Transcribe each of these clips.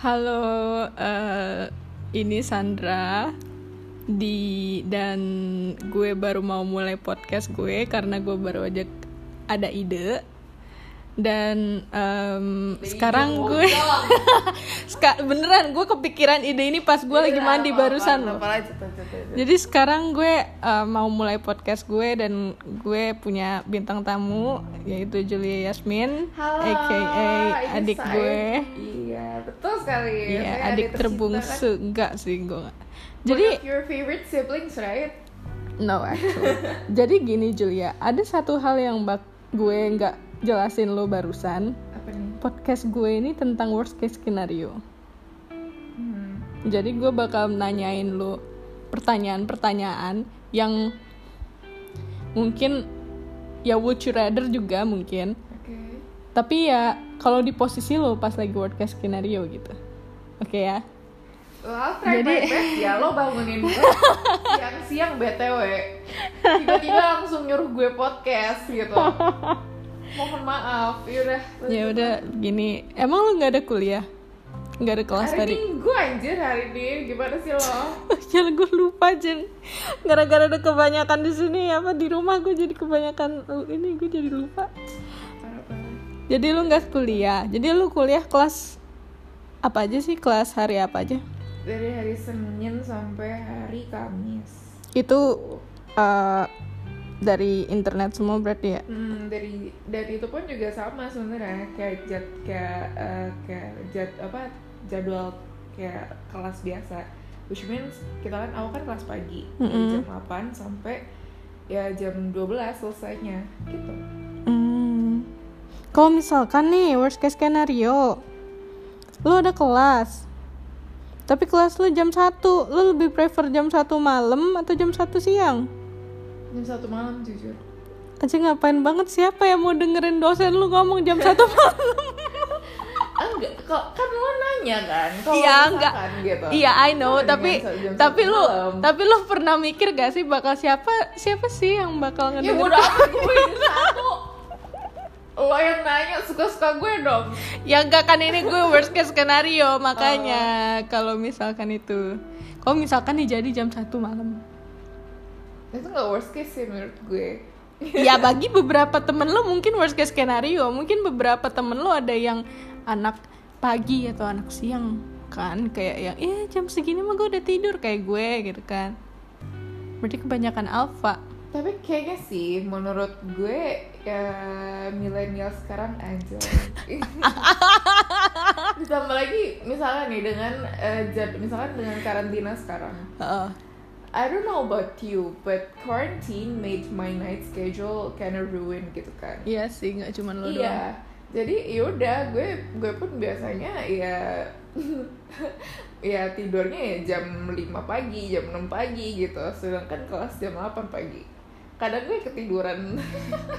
Halo, eh, ini Sandra di dan gue baru mau mulai podcast gue karena gue baru aja ada ide dan em, sekarang gue Ska- beneran gue kepikiran ide ini pas gue Iya, lagi mandi barusan loh. Jadi sekarang gue eh, mau mulai podcast gue dan gue punya bintang tamu yaitu Julia Yasmin, Halo, aka ini adik saya. gue. Iya, betul sekali. Iya, Saya adik tercinta, terbungsu enggak sih gue enggak. kan? Jadi One of your favorite siblings, right? no actually. Jadi gini Julia, ada satu hal yang bak gue nggak jelasin lo barusan. Apa nih? Podcast gue ini tentang worst case scenario. Hmm. Jadi gue bakal nanyain lo pertanyaan-pertanyaan yang mungkin ya would you rather juga mungkin. Oke. Tapi ya kalau di posisi lo pas lagi worst case scenario gitu. Oke ya. Well, I'll try my Jadi- best ya, lo bangunin gue siang-siang BTW Tiba-tiba langsung nyuruh gue podcast gitu Mohon maaf, yaudah Ya udah gini. Emang lo nggak ada kuliah? Nggak ada kelas Hari tadi? minggu anjir hari ini, gimana sih lo? Jangan gue lupa Jen Gara-gara ada kebanyakan di sini apa di rumah gue jadi kebanyakan oh, ini gue jadi lupa. Jadi lu nggak kuliah. Jadi lu kuliah kelas apa aja sih? Kelas hari apa aja? Dari hari Senin sampai hari Kamis Itu eh, dari internet semua berarti ya. Hmm, dari dari itu pun juga sama sebenarnya kayak jad kayak eh, kayak jad- apa jadwal kayak kelas biasa. Which means kita kan awal kan kelas pagi dari Mm-mm. jam 8 sampai ya jam 12 selesainya gitu. Hmm. Kalau misalkan nih worst case skenario, lu ada kelas. Tapi kelas lu jam 1, lu lebih prefer jam 1 malam atau jam 1 siang? Jam satu malam jujur. Aja ngapain banget siapa yang mau dengerin dosen lu ngomong jam 1 malam? Enggak, kok kan lo nanya kan kalau Iya, misalkan enggak. gitu. Iya, I know, Kalau tapi dengan jam satu tapi lu malam. tapi lu pernah mikir gak sih bakal siapa siapa sih yang bakal Ya ngedengerin? udah apa gue ini satu Lo yang nanya suka-suka gue dong Ya enggak kan ini gue worst case skenario makanya Oh. kalau misalkan itu. Kalau misalkan nih jadi jam 1 malam. Itu gak worst case sih menurut gue ya bagi beberapa temen lo mungkin worst case skenario, mungkin beberapa temen lo ada yang anak pagi atau anak siang kan kayak yang eh jam segini mah gue udah tidur kayak gue gitu kan. Berarti kebanyakan alfa. Tapi kayaknya sih menurut gue ya milenial sekarang aja Ditambah lagi misalnya nih dengan eh, jad- misalkan dengan karantina sekarang Heeh. I don't know about you, but quarantine made my night schedule kinda ruined gitu kan. iya sih nggak cuman lo iya doang. jadi yaudah gue gue pun biasanya ya ya tidurnya ya jam 5 pagi jam 6 pagi gitu sedangkan kelas jam 8 pagi kadang gue ketiduran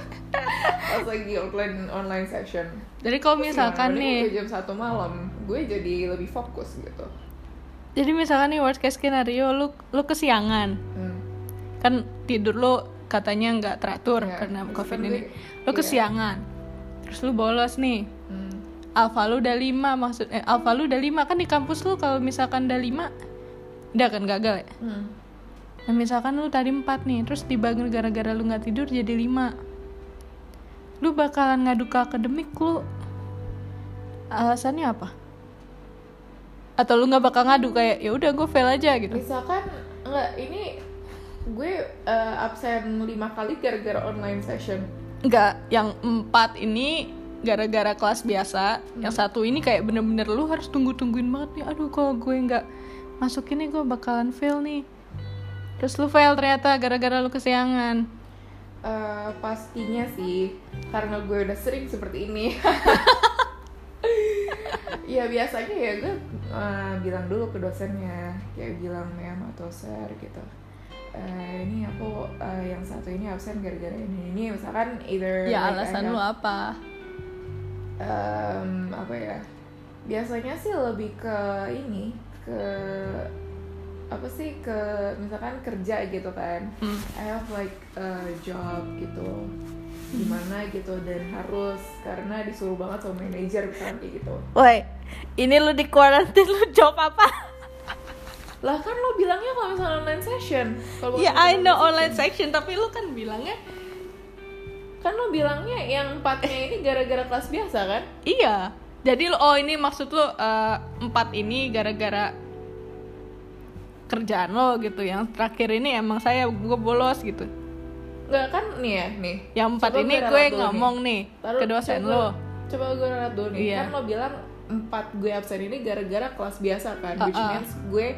pas lagi online online session Jadi kalau Oh, misalkan Mending nih, udah jam satu malam gue jadi lebih fokus gitu jadi misalkan nih worst case skenario lu lu kesiangan. Hmm. Kan tidur lo katanya nggak teratur Iya. karena Terus covid ini. kan gue- Lu iya. kesiangan. Terus lu bolos nih. Hmm. Alfa lu udah 5 maksud eh, alfa lu udah 5 kan di kampus lu kalau misalkan udah 5 udah kan gagal ya. Hmm. Nah, misalkan lu tadi 4 nih, terus dibagi gara-gara lu nggak tidur jadi 5. Lu bakalan ngadu ke akademik lu. Alasannya apa? Atau lu nggak bakal ngadu kayak ya udah gue fail aja gitu. misalkan enggak ini gue eh, absen lima kali gara-gara online session Enggak, yang 4 ini gara-gara kelas biasa, yang satu ini kayak bener-bener lu harus tunggu-tungguin banget nih. Aduh, kalau gue nggak masuk ini gue bakalan fail nih. Terus lu fail ternyata gara-gara lu kesiangan. Eh, pastinya sih karena gue udah sering seperti ini ya biasanya ya gue eh, bilang dulu ke dosennya kayak bilang mem atau sir gitu "Eh, ini aku eh, yang satu ini absen gara-gara ini ini misalkan either Ya like I alasan have lu apa? Em, apa ya biasanya sih lebih ke ini ke apa sih ke misalkan kerja gitu kan Hmm. I have like a job gitu gimana gitu dan harus karena disuruh banget sama manajer misalnya kayak gitu Woi, ini lu di quarantine lu jawab apa? lah kan lo bilangnya kalau misalnya online session kalau Ya, bukan I know session. online section, tapi lu kan bilangnya kan lo bilangnya yang empatnya ini gara-gara kelas biasa kan iya. Jadi lu- oh ini maksud lu eh, empat ini gara-gara kerjaan lo gitu. Yang terakhir ini emang saya gue bolos gitu. nggak kan nih ya nih Yang empat Coba ini ralat gue dulu ngomong nih Taruh- ke dosen coba- lo. coba gue ralat dulu nih Iya. kan lo bilang empat gue absen ini gara-gara kelas biasa kan which Uh-uh. means gue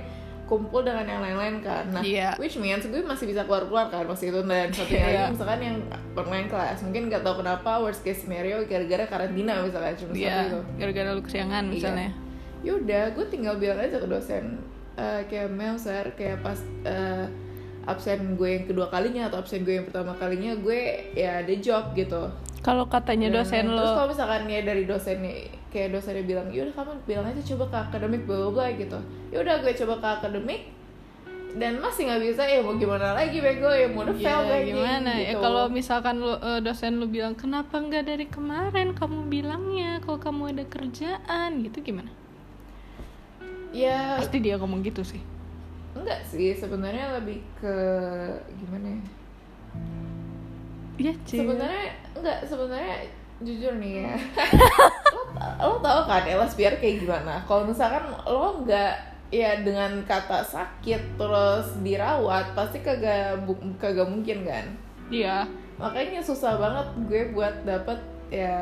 kumpul dengan yang lain-lain kan nah Iya. which means gue masih bisa keluar-keluar kan masih itu dan satunya Iya. lagi misalkan yang online kelas mungkin nggak tahu kenapa worst case scenario gara-gara karantina misalkan cuma satu Iya, itu gara-gara lu Iya. kesiangan misalnya. yaudah gue tinggal bilang aja ke dosen "Eh, kayak Mel sir kayak pas eh, absen gue yang kedua kalinya atau absen gue yang pertama kalinya gue ya ada job gitu Kalau katanya Dan dosen terus lo kalau misalkan ya dari dosennya kayak dosennya bilang yaudah kamu bilang aja coba ke akademik bla bla bla," gitu yaudah gue coba ke akademik dan masih nggak bisa ya mau gimana lagi bego ya mau udah Ya, fail gue anjing, gimana ya gitu. kalau misalkan lu, eh, dosen lu bilang kenapa nggak dari kemarin kamu bilangnya kalau kamu ada kerjaan gitu gimana? ya Pasti dia ngomong gitu sih. enggak sih sebenarnya lebih ke gimana ya Iya, Ci. sebenarnya enggak sebenarnya jujur nih ya Hmm. lo, lo tau kan LSPR kayak gimana kalau misalkan lo nggak ya dengan kata sakit terus dirawat pasti kagak bu- kagak mungkin kan Iya. makanya susah banget gue buat dapet ya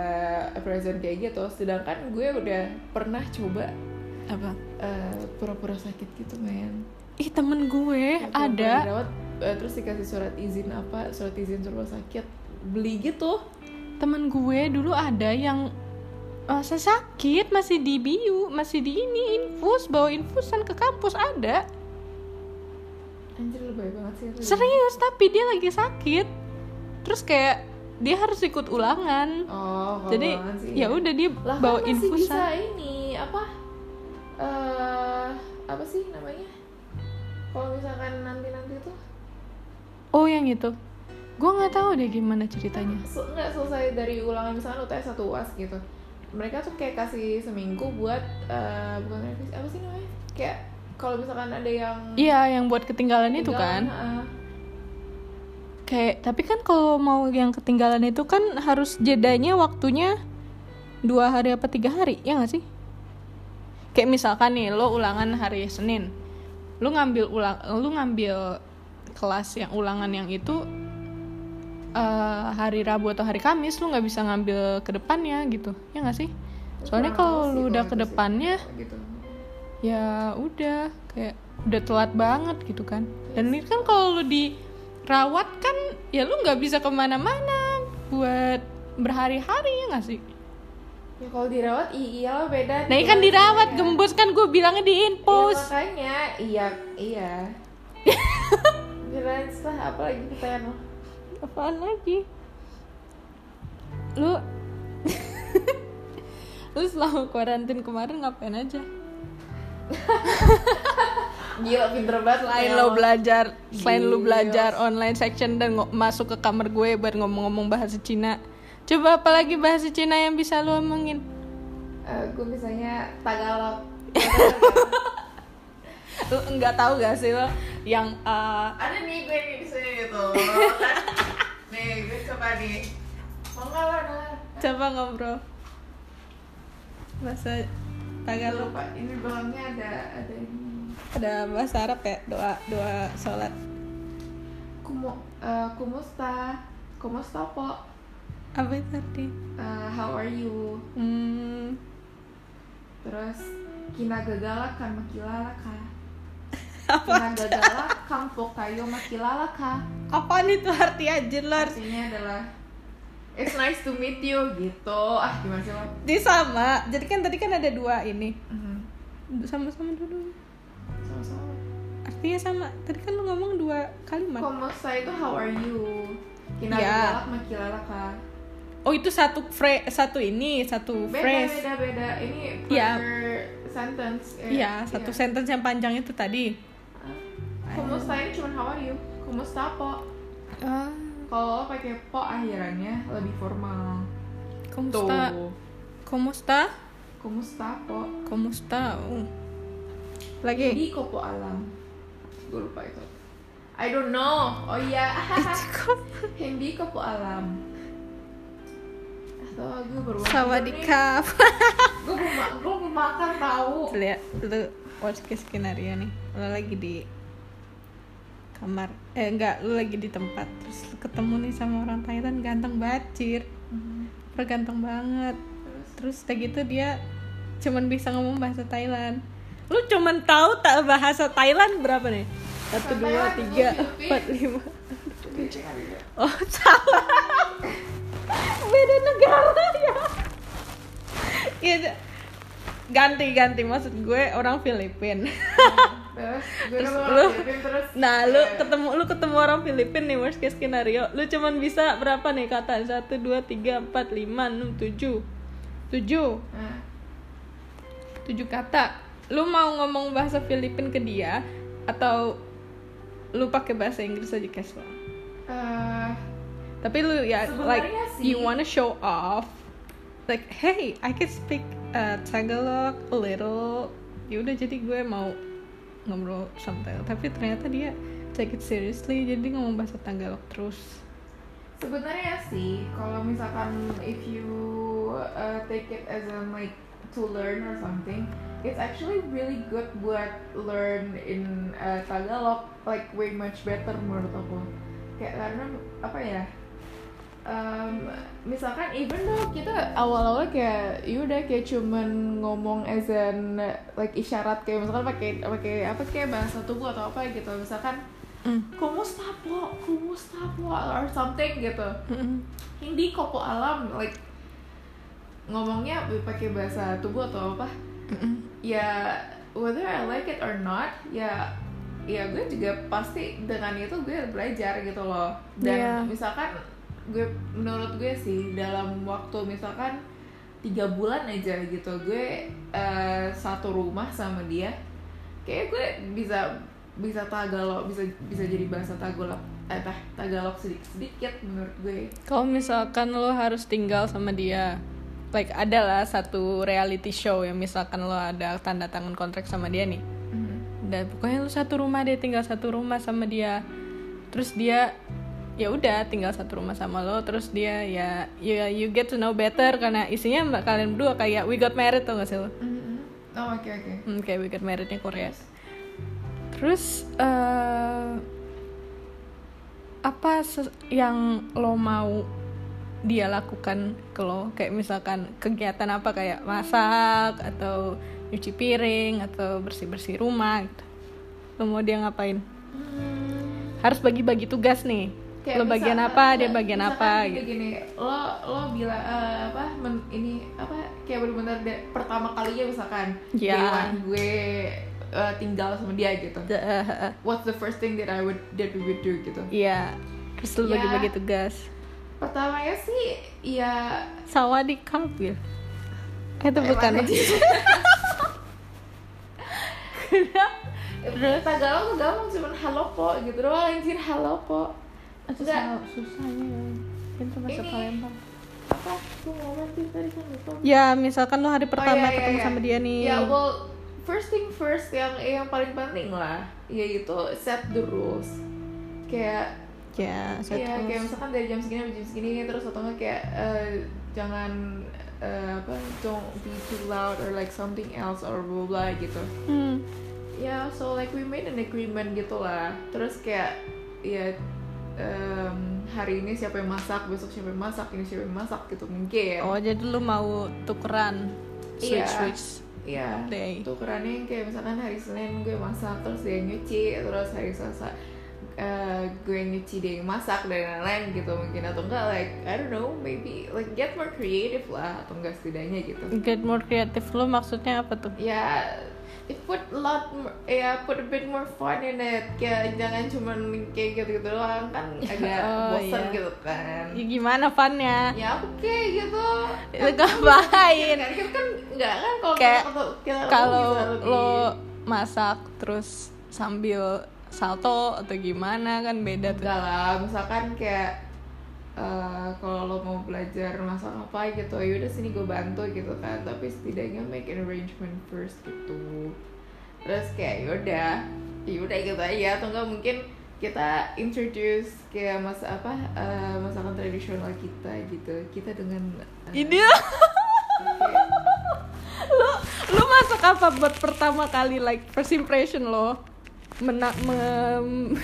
present kayak gitu sedangkan gue udah pernah coba Apa? eh, pura-pura sakit gitu men Ih, temen gue Pura-pura ada. dirawat, eh, terus dikasih surat izin apa surat izin rumah sakit beli gitu Temen gue dulu ada yang masa sakit masih di biu, masih di ini infus, bawa infusan ke kampus ada. Hmm. anjir lebay banget sih itu. Serius, tapi dia lagi sakit. Terus kayak dia harus ikut ulangan. Oh, kalau Jadi banget sih. ya udah dia Lah, kan bawa masih bisa infusan. ini apa? eh apa sih namanya? Kalau misalkan nanti nanti tuh Oh, yang itu. Gue nggak tahu deh gimana ceritanya. su- nggak selesai dari ulangan misalkan UTS satu uas gitu. Mereka tuh kayak kasih seminggu buat eh bukan revisi apa sih namanya? Kayak kalau misalkan ada yang Iya, yang buat ketinggalan itu kan. heeh. Kayak tapi kan kalau mau yang ketinggalan itu kan harus jedanya waktunya dua hari apa tiga hari ya nggak sih? Kayak misalkan nih lo ulangan hari Senin, lo ngambil ulang, lo ngambil kelas yang ulangan yang itu eh, hari Rabu atau hari Kamis lo nggak bisa ngambil ke depannya gitu ya nggak sih? Soalnya Kurang kalau tahu sih lo udah itu ke sih. depannya gitu. ya udah kayak udah telat banget gitu kan dan ini kan kalau lu dirawat kan ya lu nggak bisa kemana-mana buat berhari-hari ya nggak sih Ya kalau dirawat i- iyalah beda. nah ini kan Iya, dirawat gembus kan gue bilangnya di Iya infus makanya, iya, iya. Kirain setelah apa lagi pertanyaan lo? apaan lagi lu lu selama kuarantin kemarin ngapain aja Gila pinter banget selain ya lo Allah. belajar selain lo Gila. belajar online section dan ngo- masuk ke kamar gue buat ngomong-ngomong bahasa Cina coba apalagi bahasa Cina yang bisa lo omongin Eh, gue misalnya Tagalog. lu nggak tahu gak sih lo yang eh, Ada nih gue nih di sini gitu. nih gue coba nih. Mau nggak lo dengar? coba ngobrol bahasa Nggak Tagalog lupa. Ini belakangnya ada ada ini. ada bahasa Arab ya doa doa sholat Kumo, eh, kumusta, kumusta po? apa itu arti Eh, how are you? hmm, Terus kinagagalak kan makilala ka. Kinagagalak kang po kayo makilala ka. apaan itu arti aja lo harus- Artinya adalah It's nice to meet you gitu. Ah gimana sih lo? Ini sama jadi kan tadi kan ada dua ini Mhm. sama-sama dulu Sama-sama. artinya sama tadi kan lu ngomong dua kalimat Komosta itu how are you? Ya. Kinagagalak makilala ka. oh itu satu fra- satu ini satu Beda phrase beda beda. Ini per Ya. sentence. eh, iya satu iya. Ah. sentence yang panjang itu tadi Komosta ini cuma how are you? Komosta po? Kalau lo pakai po akhirannya lebih formal. Komusta? Tuh. Komusta? Kumusta po? Komusta? Oh. Lagi. Di kopo alam. Gue lupa itu. I don't know. Oh iya. Cukup. Hindi kopo alam. Atau gue baru Sawadikap. Gue belum ma- gue belum makan tahu. Lihat lu watch ke skenario nih. Lu lagi di kamar. Eh enggak, lu lagi di tempat. Terus lu ketemu nih sama orang Thailand ganteng bacir. Perganteng banget. Terus Terus udah gitu dia cuman bisa ngomong bahasa Thailand. Lu cuman tahu tak bahasa Thailand berapa nih? Satu, dua, Thailand, tiga, lu Filipin. empat, lima. Kencing kali ya. Oh, salah. Beda negara ya. Iya. d- Ganti-ganti maksud gue orang Filipin. Terus gue Terus udah lu- mau ngeliatin, terus Nah, lu eh, ketemu lu ketemu orang Filipin nih worst case skenario. Lu cuman bisa berapa nih kata? 1 2 3 4 5 6 7. 7. nah, 7 kata. Lu mau ngomong bahasa Filipin ke dia atau lu pakai bahasa Inggris aja casual? eh, Tapi lu ya Sebenarnya like sih- you wanna show off. Like hey, I can speak uh, Tagalog a little. Ya udah jadi gue mau ngobrol santai. Tapi ternyata dia take it seriously jadi ngomong bahasa Tagalog terus. sebenarnya sih kalau misalkan if you uh, take it as a like to learn or something it's actually really good buat learn in uh, Tagalog like way much better menurut aku kayak karena apa ya um, misalkan even though kita awal-awal kayak yaudah kayak cuman ngomong as an like isyarat kayak misalkan pakai pakai apa kayak bahasa tubuh atau apa gitu misalkan Mm. kumusta po kumusta po or something gitu hindi kopo alam like ngomongnya pakai bahasa tubuh atau apa ya whether I like it or not ya ya gue juga pasti dengan itu gue belajar gitu loh dan Iya. misalkan gue menurut gue sih dalam waktu misalkan tiga bulan aja gitu gue eh, satu rumah sama dia kayak gue bisa bisa tagalog bisa bisa jadi bahasa tagalog eh tah- tagalog sedikit sedikit menurut gue Kalau misalkan lo harus tinggal sama dia, like adalah satu reality show yang misalkan lo ada tanda tangan kontrak sama dia nih. dan pokoknya lu satu rumah deh tinggal satu rumah sama dia terus dia ya udah tinggal satu rumah sama lo terus dia ya you, you get to know better karena isinya mbak kalian berdua kayak we got married tau gak sih lo Mhm. oh oke oke hmm, kayak we got marriednya Korea terus eh, apa ses- yang lo mau dia lakukan ke lo kayak misalkan kegiatan apa kayak masak atau nyuci piring atau bersih bersih rumah gitu lo mau dia ngapain Hmm, harus bagi-bagi tugas nih. kayak lo bagian misal- apa, dia bagian misalkan apa kayak gitu. gini lo lo bilang eh, apa men- ini apa kayak benar-benar de- pertama kalinya misalkan Ya. day one gue eh, tinggal sama dia gitu Heeh. what's the first thing that I would that we would do gitu Iya. Terus lo Ya. bagi-bagi tugas. pertamanya sih ya Sawa di kapil. Itu bukan. ya? Emang aja. Terus? Tagalog tuh gampang cuman halo po gitu doang anjir halo po Enggak. ya. susahnya. Itu masuk Ini. Palembang. apa gue ngomong sih tadi kan lupa Ya, misalkan lo hari pertama Oh, iya, iya, ketemu iya. sama dia nih. Ya, well, first thing first yang eh, yang paling penting lah, yaitu set the rules. Kayak Ya, set ya rules. kayak misalkan dari jam segini sampai jam segini terus atau enggak kayak eh, jangan eh, apa don't be too loud or like something else or blah blah gitu. Hmm. Ya, so like we made an agreement gitu lah. Terus kayak ya em, hari ini siapa yang masak, besok siapa yang masak, ini siapa yang masak gitu mungkin. Oh, jadi lo mau tukeran Iya. switch-switch. Iya. Day. Tukerannya yang kayak misalkan hari Senin gue masak terus dia nyuci, terus hari Selasa eh, gue nyuci dia yang masak dan lain-lain gitu mungkin atau enggak like I don't know maybe like get more creative lah atau enggak setidaknya gitu. Get more creative lo maksudnya apa tuh? Ya it put a lot more- ya put a bit more fun in it kayak jangan cuman kayak gitu-gitu doang kan agak Oh, bosan iya. gitu kan. Ya, gimana funnya? Ya oke gitu. Lo ngapain? Kan kita kan enggak kan kalau Iya. Kayak kita- kita ketemu kalau bisa lebih- lo masak terus sambil salto atau gimana kan beda tuh Enggak lah, misalkan kayak eh, kalau lo mau belajar masak apa gitu ya udah sini gue bantu gitu kan tapi setidaknya make an arrangement first gitu terus kayak yaudah yaudah gitu aja atau enggak mungkin kita introduce kayak masa apa eh, masakan tradisional kita gitu kita dengan eh, Ini lu lu masak apa buat pertama kali like first impression lo Mena- mem-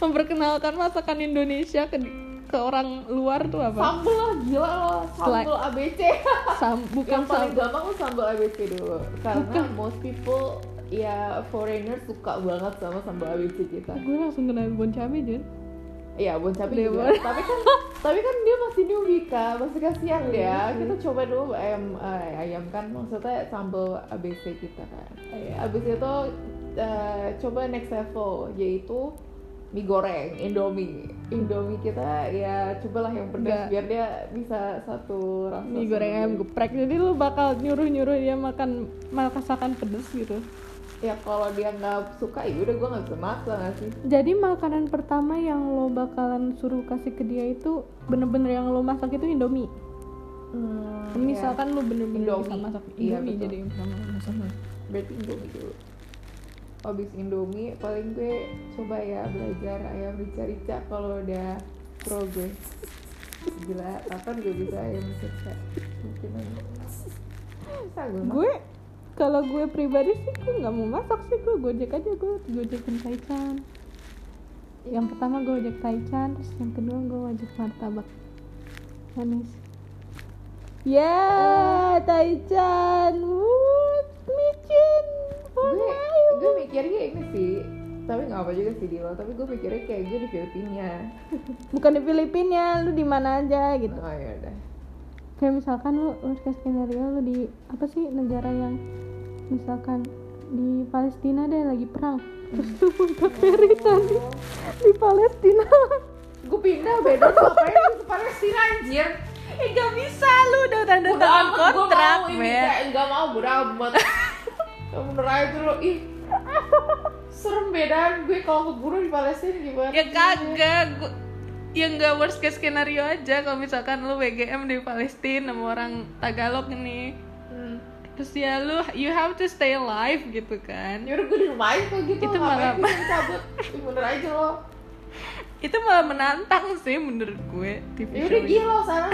memperkenalkan masakan Indonesia ke ke orang luar tuh apa? sambel lah gila lo sambel ABC Sam- bukan yang paling sambal. gampang tuh sambal ABC dulu karena most people ya foreigner suka banget sama sambal ABC kita Gue langsung kenal bon cabe, Jen. iya bon cabe Iya, juga Bon. tapi kan tapi kan dia masih newbie kak masih kasihan Iya dia sih. kita coba dulu ayam eh, ayam kan maksudnya sambal ABC kita kan Iya. abis itu eh, coba next level yaitu mie goreng Indomie Indomie kita ya cobalah yang Nggak. pedas biar dia bisa satu rasa Mie sama goreng dia. ayam geprek. Jadi lu bakal nyuruh-nyuruh dia makan masakan pedes gitu. ya kalau dia nggak suka ya udah gue nggak bisa maksa nggak sih Jadi makanan pertama yang lo bakalan suruh kasih ke dia itu bener-bener yang lo masak itu Indomie. hmm, Misalkan lu bener-bener bisa Indomie. masak Iya. Iya, Indomie betul. jadi yang pertama lo masak. ya, berarti indomie dulu abis indomie paling gue coba ya belajar ayam rica-rica kalau udah pro gue gila kapan gue bisa ayam rica mungkin aja bisa gue masak. Gue kalau gue pribadi sih gue nggak mau masak sih gue gojek aja gue gojekin Taichan. Yang pertama gue ojek Taichan, terus yang kedua gue ojek martabak manis. Yeah, Taichan, woot, micin, gue Orai. gue mikirnya ini sih tapi nggak apa juga sih Dilo tapi gue mikirnya kayak gue di Filipina Bukan di Filipina, lu di mana aja gitu. oh ya udah kayak misalkan lu lu kayak skenario lu di apa sih negara yang misalkan di Palestina deh lagi perang terus tuh Punta Ferry tadi di Palestina gue pindah beda tuh ngapain gue ke Palestina anjir eh gak bisa lu udah tanda Udah amat, gua mau ini, kayak nggak mau bodo amat Ya bener aja tuh lo ih serem bedaan gue kalau keburu di Palestina gimana Ya. kagak gua ya nggak worst case skenario aja kalau misalkan lu WGM di Palestina sama orang Tagalog nih hmm. terus ya lu you have to stay alive gitu kan yaudah gue Ya di rumah aja tuh gitu Itu malah- ngapain gue cabut Ih, bener aja lo itu malah menantang sih menurut gue TV yaudah Ya gila lo sana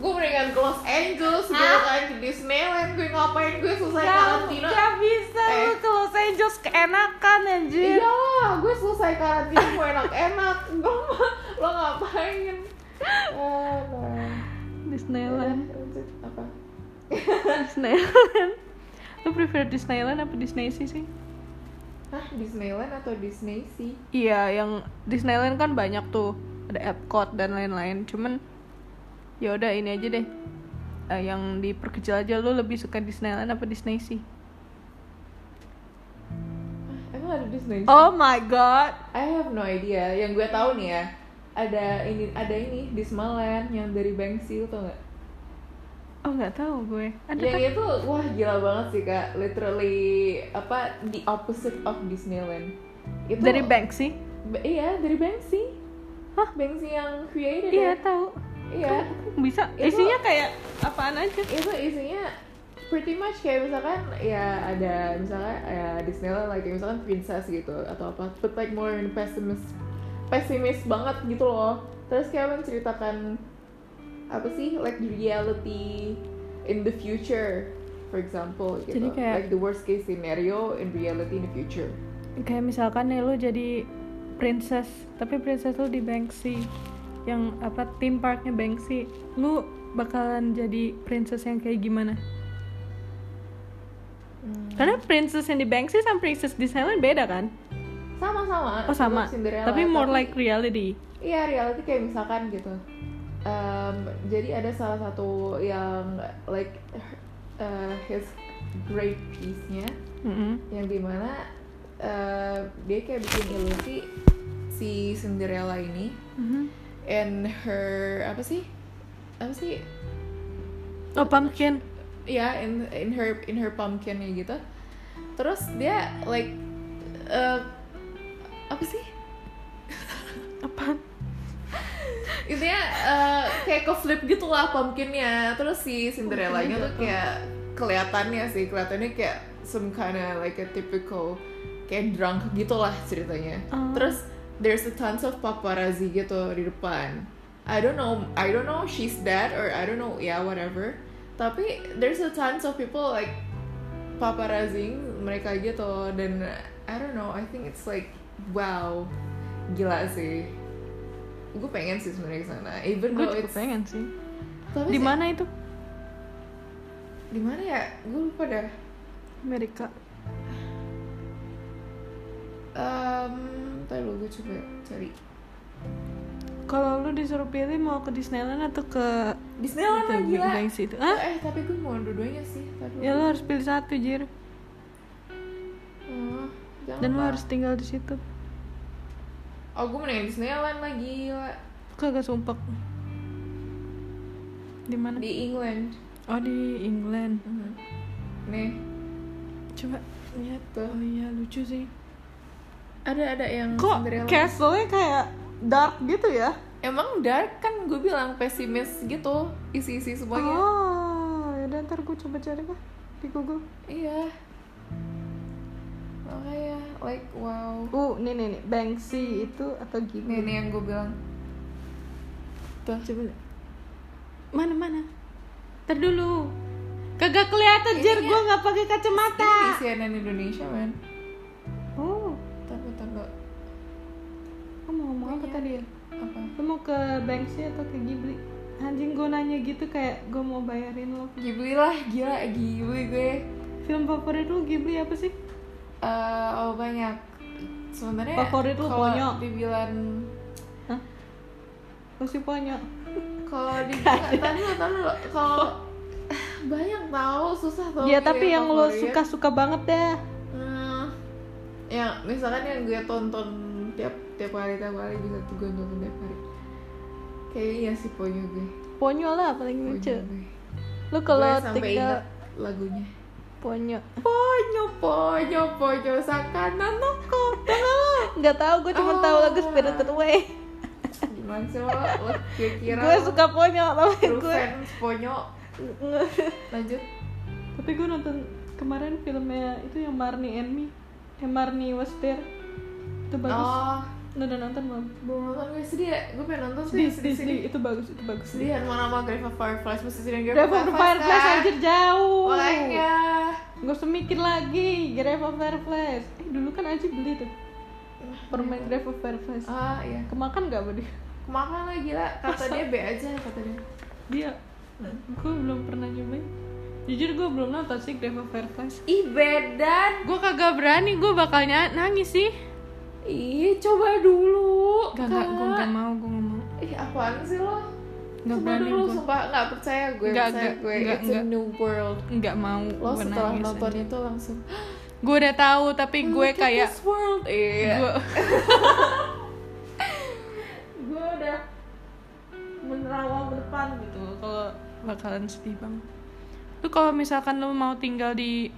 gue mendingan ke Los Angeles gue kan ke Disneyland gue ngapain gue selesai karantina Gak bisa Eh. lu ke Los Angeles keenakan anjir Iya lah, gue selesai karantina mau enak-enak Gue mah, lo ngapain? Eh, nah. Disneyland Lanjut, apa? Disneyland Lu prefer Disneyland apa Disney sih sih? Hah, Disneyland atau Disney sih? Iya yang Disneyland kan banyak tuh Ada Epcot dan lain-lain Cuman ya udah ini aja deh Eh, Yang diperkecil aja lu lebih suka Disneyland apa Disney sih? Emang ada Disney? Oh my god I have no idea. Yang gue tahu nih ya, ada ini ada ini Disneyland yang dari Banksy tau nggak? Oh nggak tahu gue Ada kan? Yang itu wah gila banget sih kak, literally apa the opposite of Disneyland. Itu Dari Banksy? Ba- iya dari Banksy. Hah Banksy yang created? Iya kan? ya? tahu Iya. Bisa Itu- Isinya kayak apaan aja itu isinya pretty much kayak misalkan ya ada misalnya ya Disneyland like misalkan princess gitu atau apa but like more in pessimist pesimis banget gitu loh terus kayak menceritakan apa sih like the reality in the future for example gitu Jadi kayak- like the worst case scenario in reality in the future kayak misalkan nih lo jadi princess tapi princess lo di Banksy yang apa theme parknya Banksy lu bakalan jadi princess yang kayak gimana Hmm. karena princess yang di Banksy sama princess di Silent beda kan sama-sama oh sama Tetap Cinderella, tapi more like reality Iya reality kayak misalkan gitu. Em, jadi ada salah satu yang like eh, his great piece-nya Mm-mm. yang dimana eh, dia kayak bikin ilusi si Cinderella ini Mhm. and her apa sih apa sih oh pumpkin ya in in her in her pumpkinnya gitu terus dia like eh, apa sih apa intinya eh, kayak ke flip gitu lah pumpkinnya terus si Cinderella-nya tuh kayak kelihatannya sih kelihatannya kayak some kinda like a typical kayak drunk gitulah ceritanya Oh. terus there's a tons of paparazzi gitu di depan I don't know I don't know she's dead or I don't know yeah whatever tapi there's a tons of people like paparazzi mereka gitu dan I don't know I think it's like wow gila sih gue pengen sih sebenarnya ke sana even gue though juga Oh, it's pengen sih tapi di sih- mana itu di mana ya gue lupa dah Amerika um, tadi lo gue coba cari kalau lu disuruh pilih mau ke Disneyland atau ke Disneyland lah Itu, gila Big Bang situ ah eh tapi gue mau dua-duanya sih tapi ya lu harus pilih satu jir oh, jangan dan lu lupa. harus tinggal di situ oh gue mendingan Disneyland lah gila kagak sumpah di mana di England Mhm. oh di England nih coba lihat Tuh. oh iya lucu sih ada ada yang kok Cinderella. castle-nya kayak dark gitu ya emang dark kan gue bilang pesimis gitu isi isi semuanya oh yaudah ntar gue coba cari lah di Google iya makanya like wow uh nih nih nih Banksy itu atau Nih, gini nih yang gue bilang tuh coba lihat. mana mana ntar dulu kagak kelihatan Ini jer ya. gue nggak pakai kacamata ini di CNN Indonesia man oh tunggu tunggu lu mau ngomong Iya. apa tadi ya apa lu mau ke Banksy atau ke Ghibli anjing gue nanya gitu kayak gue mau bayarin lo Ghibli lah gila Ghibli gue film favorit lu Ghibli apa sih Eh, oh banyak sebenarnya Favorit lu kalau Ponyo. dibilan lo si Ponyo kalau dibilang tadi lo tadi lo kalau banyak tahu susah tau ya pilih tapi yang lo favorit. suka suka banget deh Hmm, ya misalkan yang gue tonton tiap tiap hari tiap hari bisa tuh gue tonton tiap hari kayaknya sih Ponyo gue Ponyo lah paling lucu Ponyo gue. lu kalau Gue sampai tinggal ingat lagunya Ponyo Ponyo Ponyo Ponyo sakana no koto nggak tahu gue cuma tahu Oh. lagu Spirited Away gimana sih lo Lo kira-kira gue suka Ponyo tapi lu gue fans Ponyo lanjut tapi gue nonton kemarin filmnya itu yang Marnie and Me yang Marnie was there itu bagus oh lu udah nonton belum belum nonton gue sedih ya gue pengen nonton sih sedih sedih sedih sedih sedih itu bagus itu bagus sedih yang mana sama Grave of Fireflies mesti sedih Grave Grave of the Fireflies kan? anjir jauh makanya Gak usah mikir lagi Grave of Fireflies Eh dulu kan Aji beli tuh Permen Grave of Fireflies ah iya Kemakan gak sama dia? kemakan lah gila kata dia B aja kata dia Dia Gue belum pernah nyobain Jujur gue belum nonton sih Grave of Fireflies ih bedan Gue kagak berani Gue bakal nya- nangis sih ih coba dulu Gak gak gue Kak. gak mau Gue gak mau Ih, apaan sih lo? Nggak Sumpah berani dulu, gua. sumpah nggak percaya gue, Nggak, percaya nggak, gue. nggak, It's nggak. a new world. Nggak mau Lo Gue setelah nangis nonton itu langsung Gue udah tahu Tapi gue "Look at kayak this world. Iya. Gue Gue udah menerawang ke depan gitu kalau bakalan sedih banget lu kalau misalkan lu mau tinggal di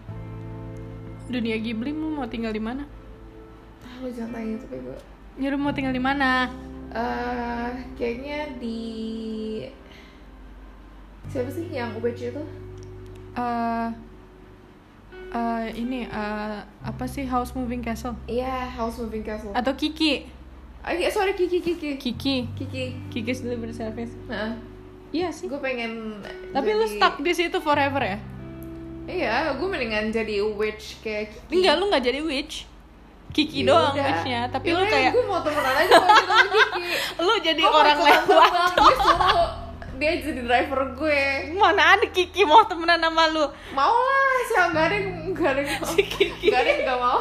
dunia Ghibli lu mau tinggal di mana ah, lo jangan tanya itu gue. ya lu mau tinggal di mana Eh, kayaknya di siapa sih yang UBC itu? Eh eh, ini eh, apa sih House Moving Castle Iya, House Moving Castle. atau Kiki Ah, iya, sorry Kiki Kiki Kiki Kiki. Kiki's Delivery Service Nah, iya sih gue pengen. tapi lu jadi- stuck di situ forever ya Iya, gue mendingan jadi witch kayak Kiki. enggak lu nggak jadi witch Kiki Ya doang witchnya tapi lu kayak gue mau temenan aja sama dia sama Kiki lu jadi Gue mau orang ikutan lewat terbang, gue suruh dia jadi driver gue mana ada Kiki mau temenan sama lu mau lah sih nggak ada yang nggak ada yang si Kiki nggak ada yang nggak mau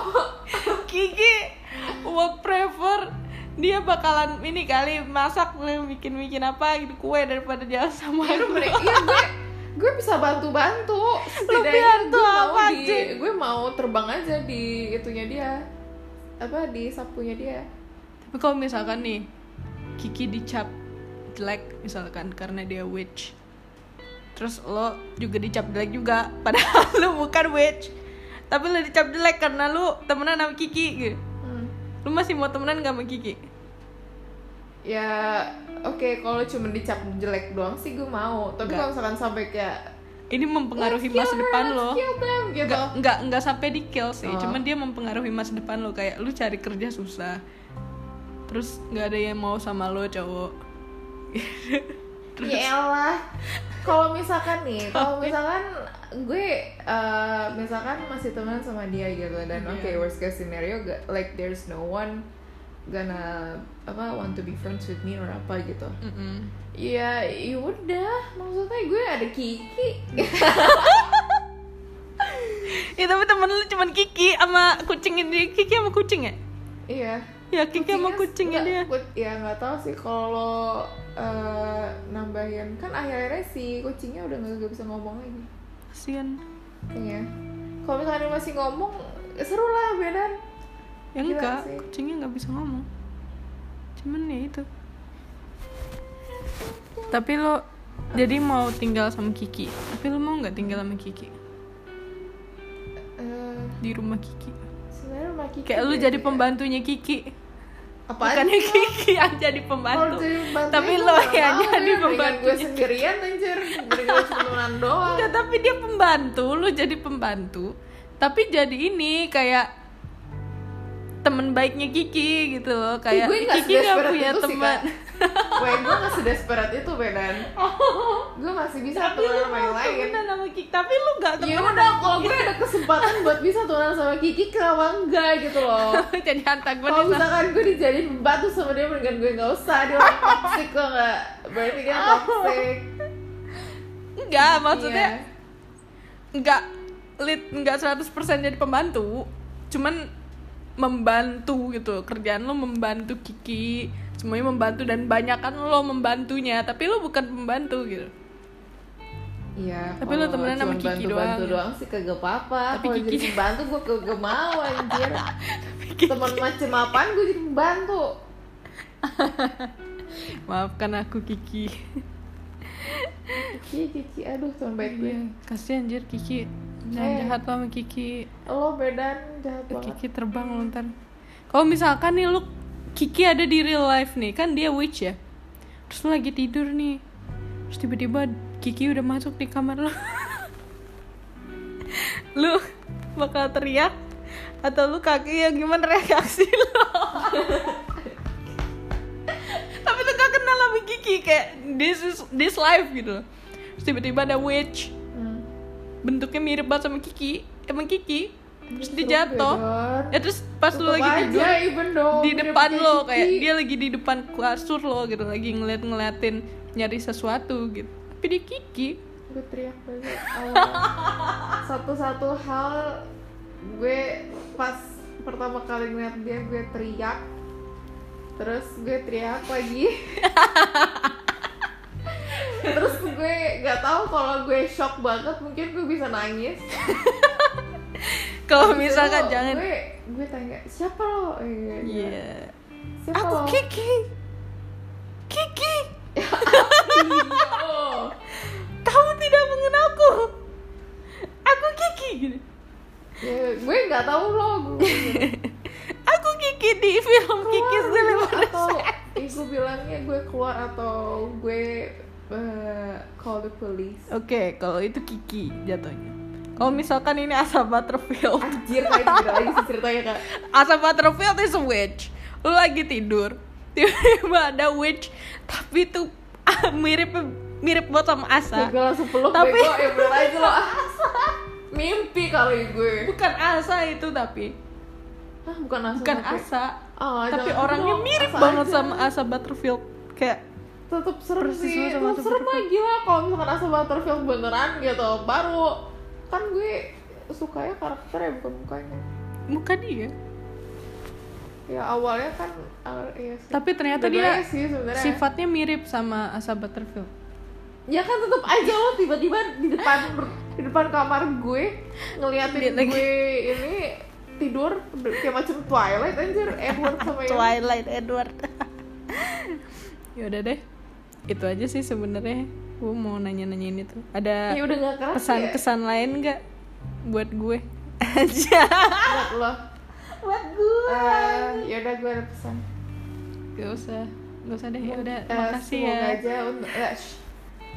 Kiki work prefer dia bakalan ini kali masak bikin bikin apa gitu kue daripada jalan sama Aduh, lu. mereka- iya gue gue bisa bantu bantu bantu gue mau apa, di Cik? gue mau terbang aja di itunya dia apa di sapunya dia Tapi kalau misalkan nih Kiki dicap jelek misalkan karena dia witch, terus lo juga dicap jelek juga, padahal lo bukan witch, tapi lo dicap jelek karena lo temenan sama Kiki gitu. hmm. Lo masih mau temenan gak sama Kiki? ya oke kalau cuma dicap jelek doang sih gue mau tapi Nggak. kalau misalkan sampai kayak Ini mempengaruhi masa "Let's kill her, depan let's lo. kill them, gitu Nggak nggak nggak sampai di kill sih, Oh. cuman dia mempengaruhi masa depan lo kayak lu cari kerja susah. Terus nggak ada yang mau sama lo cowok. Yaelah. Ya Kalau misalkan nih, kalau misalkan gue eh, misalkan masih teman sama dia gitu dan Iya. oke worst case scenario ga- like there's no one gonna apa want to be friends with me or apa gitu. Mm-mm. Ya, ya udah, maksudnya gue ada Kiki. Ya tapi temen lu cuman Kiki sama kucing ini Kiki sama kucing ya? Iya. Ya Kiki sama kucingnya dia nggak- kut- Ya nggak tahu sih kalau eh, nambahin kan akhirnya si kucingnya udah nggak nggak bisa ngomong lagi. Kasian Iya. Kalau misalkan dia masih ngomong seru lah beneran. Ya Gila enggak, sih. kucingnya nggak bisa ngomong Cuman ya itu Tapi lo jadi mau tinggal sama Kiki Tapi lo mau nggak tinggal sama Kiki? Eh, Di rumah Kiki sebenarnya rumah Kiki Kayak lu dia- jadi pembantunya Kiki apa Bukannya Kiki yang jadi pembantu Tapi lo yang jadi gue pembantunya ya, sendirian anjir mending gue temenan doang Enggak, tapi dia pembantu, lu jadi pembantu. Tapi jadi ini kayak temen baiknya Kiki gitu loh, Ih, kayak gue nggak Kiki nggak sedesperat punya itu sih teman. kak Gue gue nggak sedesperat itu benan Gue masih bisa Tapi lu temenan sama mau yang lain temenan sama Kiki, tapi lu nggak Ya temenan. udah kalau gue Iya. ada kesempatan buat bisa temenan sama Kiki kenapa enggak gitu loh jadi antagonis. Kalau misalkan gue dijadiin pembantu sama dia mendingan gue nggak usah dia orang toxic kok nggak berarti Oh. kan toxic Enggak, maksudnya Iya. enggak lit enggak 100% jadi pembantu. Cuman membantu gitu loh. kerjaan lo membantu Kiki semuanya membantu dan banyakan lo membantunya tapi lo bukan pembantu gitu Iya. Tapi lu kalau temenan sama cuman Kiki doang bantu-bantu ya? doang sih kagak apa-apa. Tapi Kalau Kiki- jadi pembantu gue kagak mau anjir. Temen macem apaan gue jadi pembantu. maafkan aku Kiki Kiki, Iya, Kiki, aduh temen baik gue. Iya, kasihan anjir Kiki. Jangan Eh. jahat lo sama Kiki. Lo bedan jahat banget. Kiki terbang lo ntar. Kalau misalkan nih lu Kiki ada di real life nih, kan dia witch ya. Terus lu lagi tidur nih. Terus tiba-tiba Kiki udah masuk di kamar lo. lu bakal teriak atau lu kaki ya gimana reaksi lo? Tapi lu gak kenal sama Kiki kayak this is this life gitu. Terus tiba-tiba ada witch Hmm. bentuknya mirip banget sama Kiki emang Kiki terus dia Seru, jatuh Bedan. ya terus pas lu Tutup lagi aja, tidur even dong. di Dia depan punya lo kayak Kiki. dia lagi di depan kasur lo gitu lagi ngeliat ngeliatin nyari sesuatu gitu tapi dia Kiki gue teriak banget Allah. satu-satu hal gue pas pertama kali ngeliat dia gue teriak terus gue teriak lagi terus gue nggak tahu kalau gue shock banget mungkin gue bisa nangis kalau Oh, Terus misalkan itu jangan gue gue tanya siapa lo Iya, iya iya. siapa aku lo Kiki Kiki Oh. kamu tidak mengenalku aku Kiki gitu. Ya, gue nggak tahu lo gue aku Kiki di film Kiki keluar Silver gue atau ibu bilangnya gue keluar atau gue eh, call the police Oke, kalau itu Kiki jatuhnya. Kalau misalkan ini Asa Butterfield, anjir kayak beda lagi sih ceritanya kak Asa Butterfield is a witch. Lu lagi tidur, tiba-tiba ada witch, tapi tuh ah, mirip mirip banget sama Asa. gue langsung peluk Nah, Tapi- bego ya bener aja lo mimpi kali gue Bukan Asa itu tapi, Hah, bukan asa bukan tapi- Asa, Ah, tapi jangan orangnya dong, mirip Asa banget aja. sama Asa Butterfield. Kayak tetep serem Persis sih banget sama gitu. Asa tetep serem lah Butterfield. gila kalau misalkan asa butterfield beneran gitu baru kan gue sukanya karakternya bukan mukanya bukan dia. ya awalnya kan ah, iya sih. Tapi ternyata Dua-duanya dia sih sebenarnya sifatnya mirip sama Asa Butterfield. ya kan tetep aja lo tiba-tiba di depan di depan kamar gue ngeliatin Dia lagi- gue ini tidur kayak macam Twilight anjir Edward sama yang Twilight Edward. Yaudah Ya deh, itu aja sih sebenarnya. Gue mau nanya-nanyain itu. Ada ya udah gak keras ya pesan-kesan lain nggak buat gue? Aja. buat lo buat gue. Eh, ya udah gue ada pesan Gak usah. Gak usah deh, ya udah. Eh, makasih semoga ya. aja untuk eh, shh.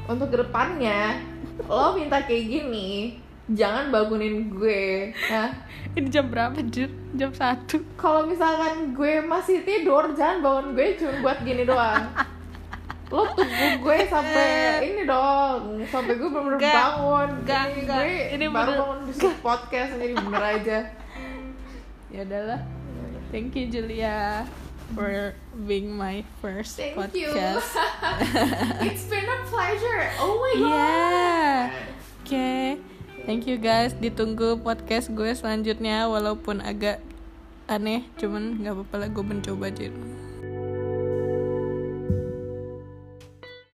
untuk kedepannya lo minta kayak gini jangan bangunin gue nah Ini jam berapa, Jir? Jam 1. kalau misalkan gue masih tidur jangan bangun gue cuma buat gini doang lo tunggu gue Iya, sampai ini dong sampai gue bener-bener Enggak. bangun Enggak, ini enggak. gue Ini baru bener- bangun bisnis podcast jadi bener aja Ya udahlah. Thank you Julia for being my first thank you podcast. it's been a pleasure oh my Iya, god Yeah. Oke. Thank you guys. Ditunggu podcast gue selanjutnya walaupun agak aneh, cuman nggak apa-apa lah gue mencoba aja.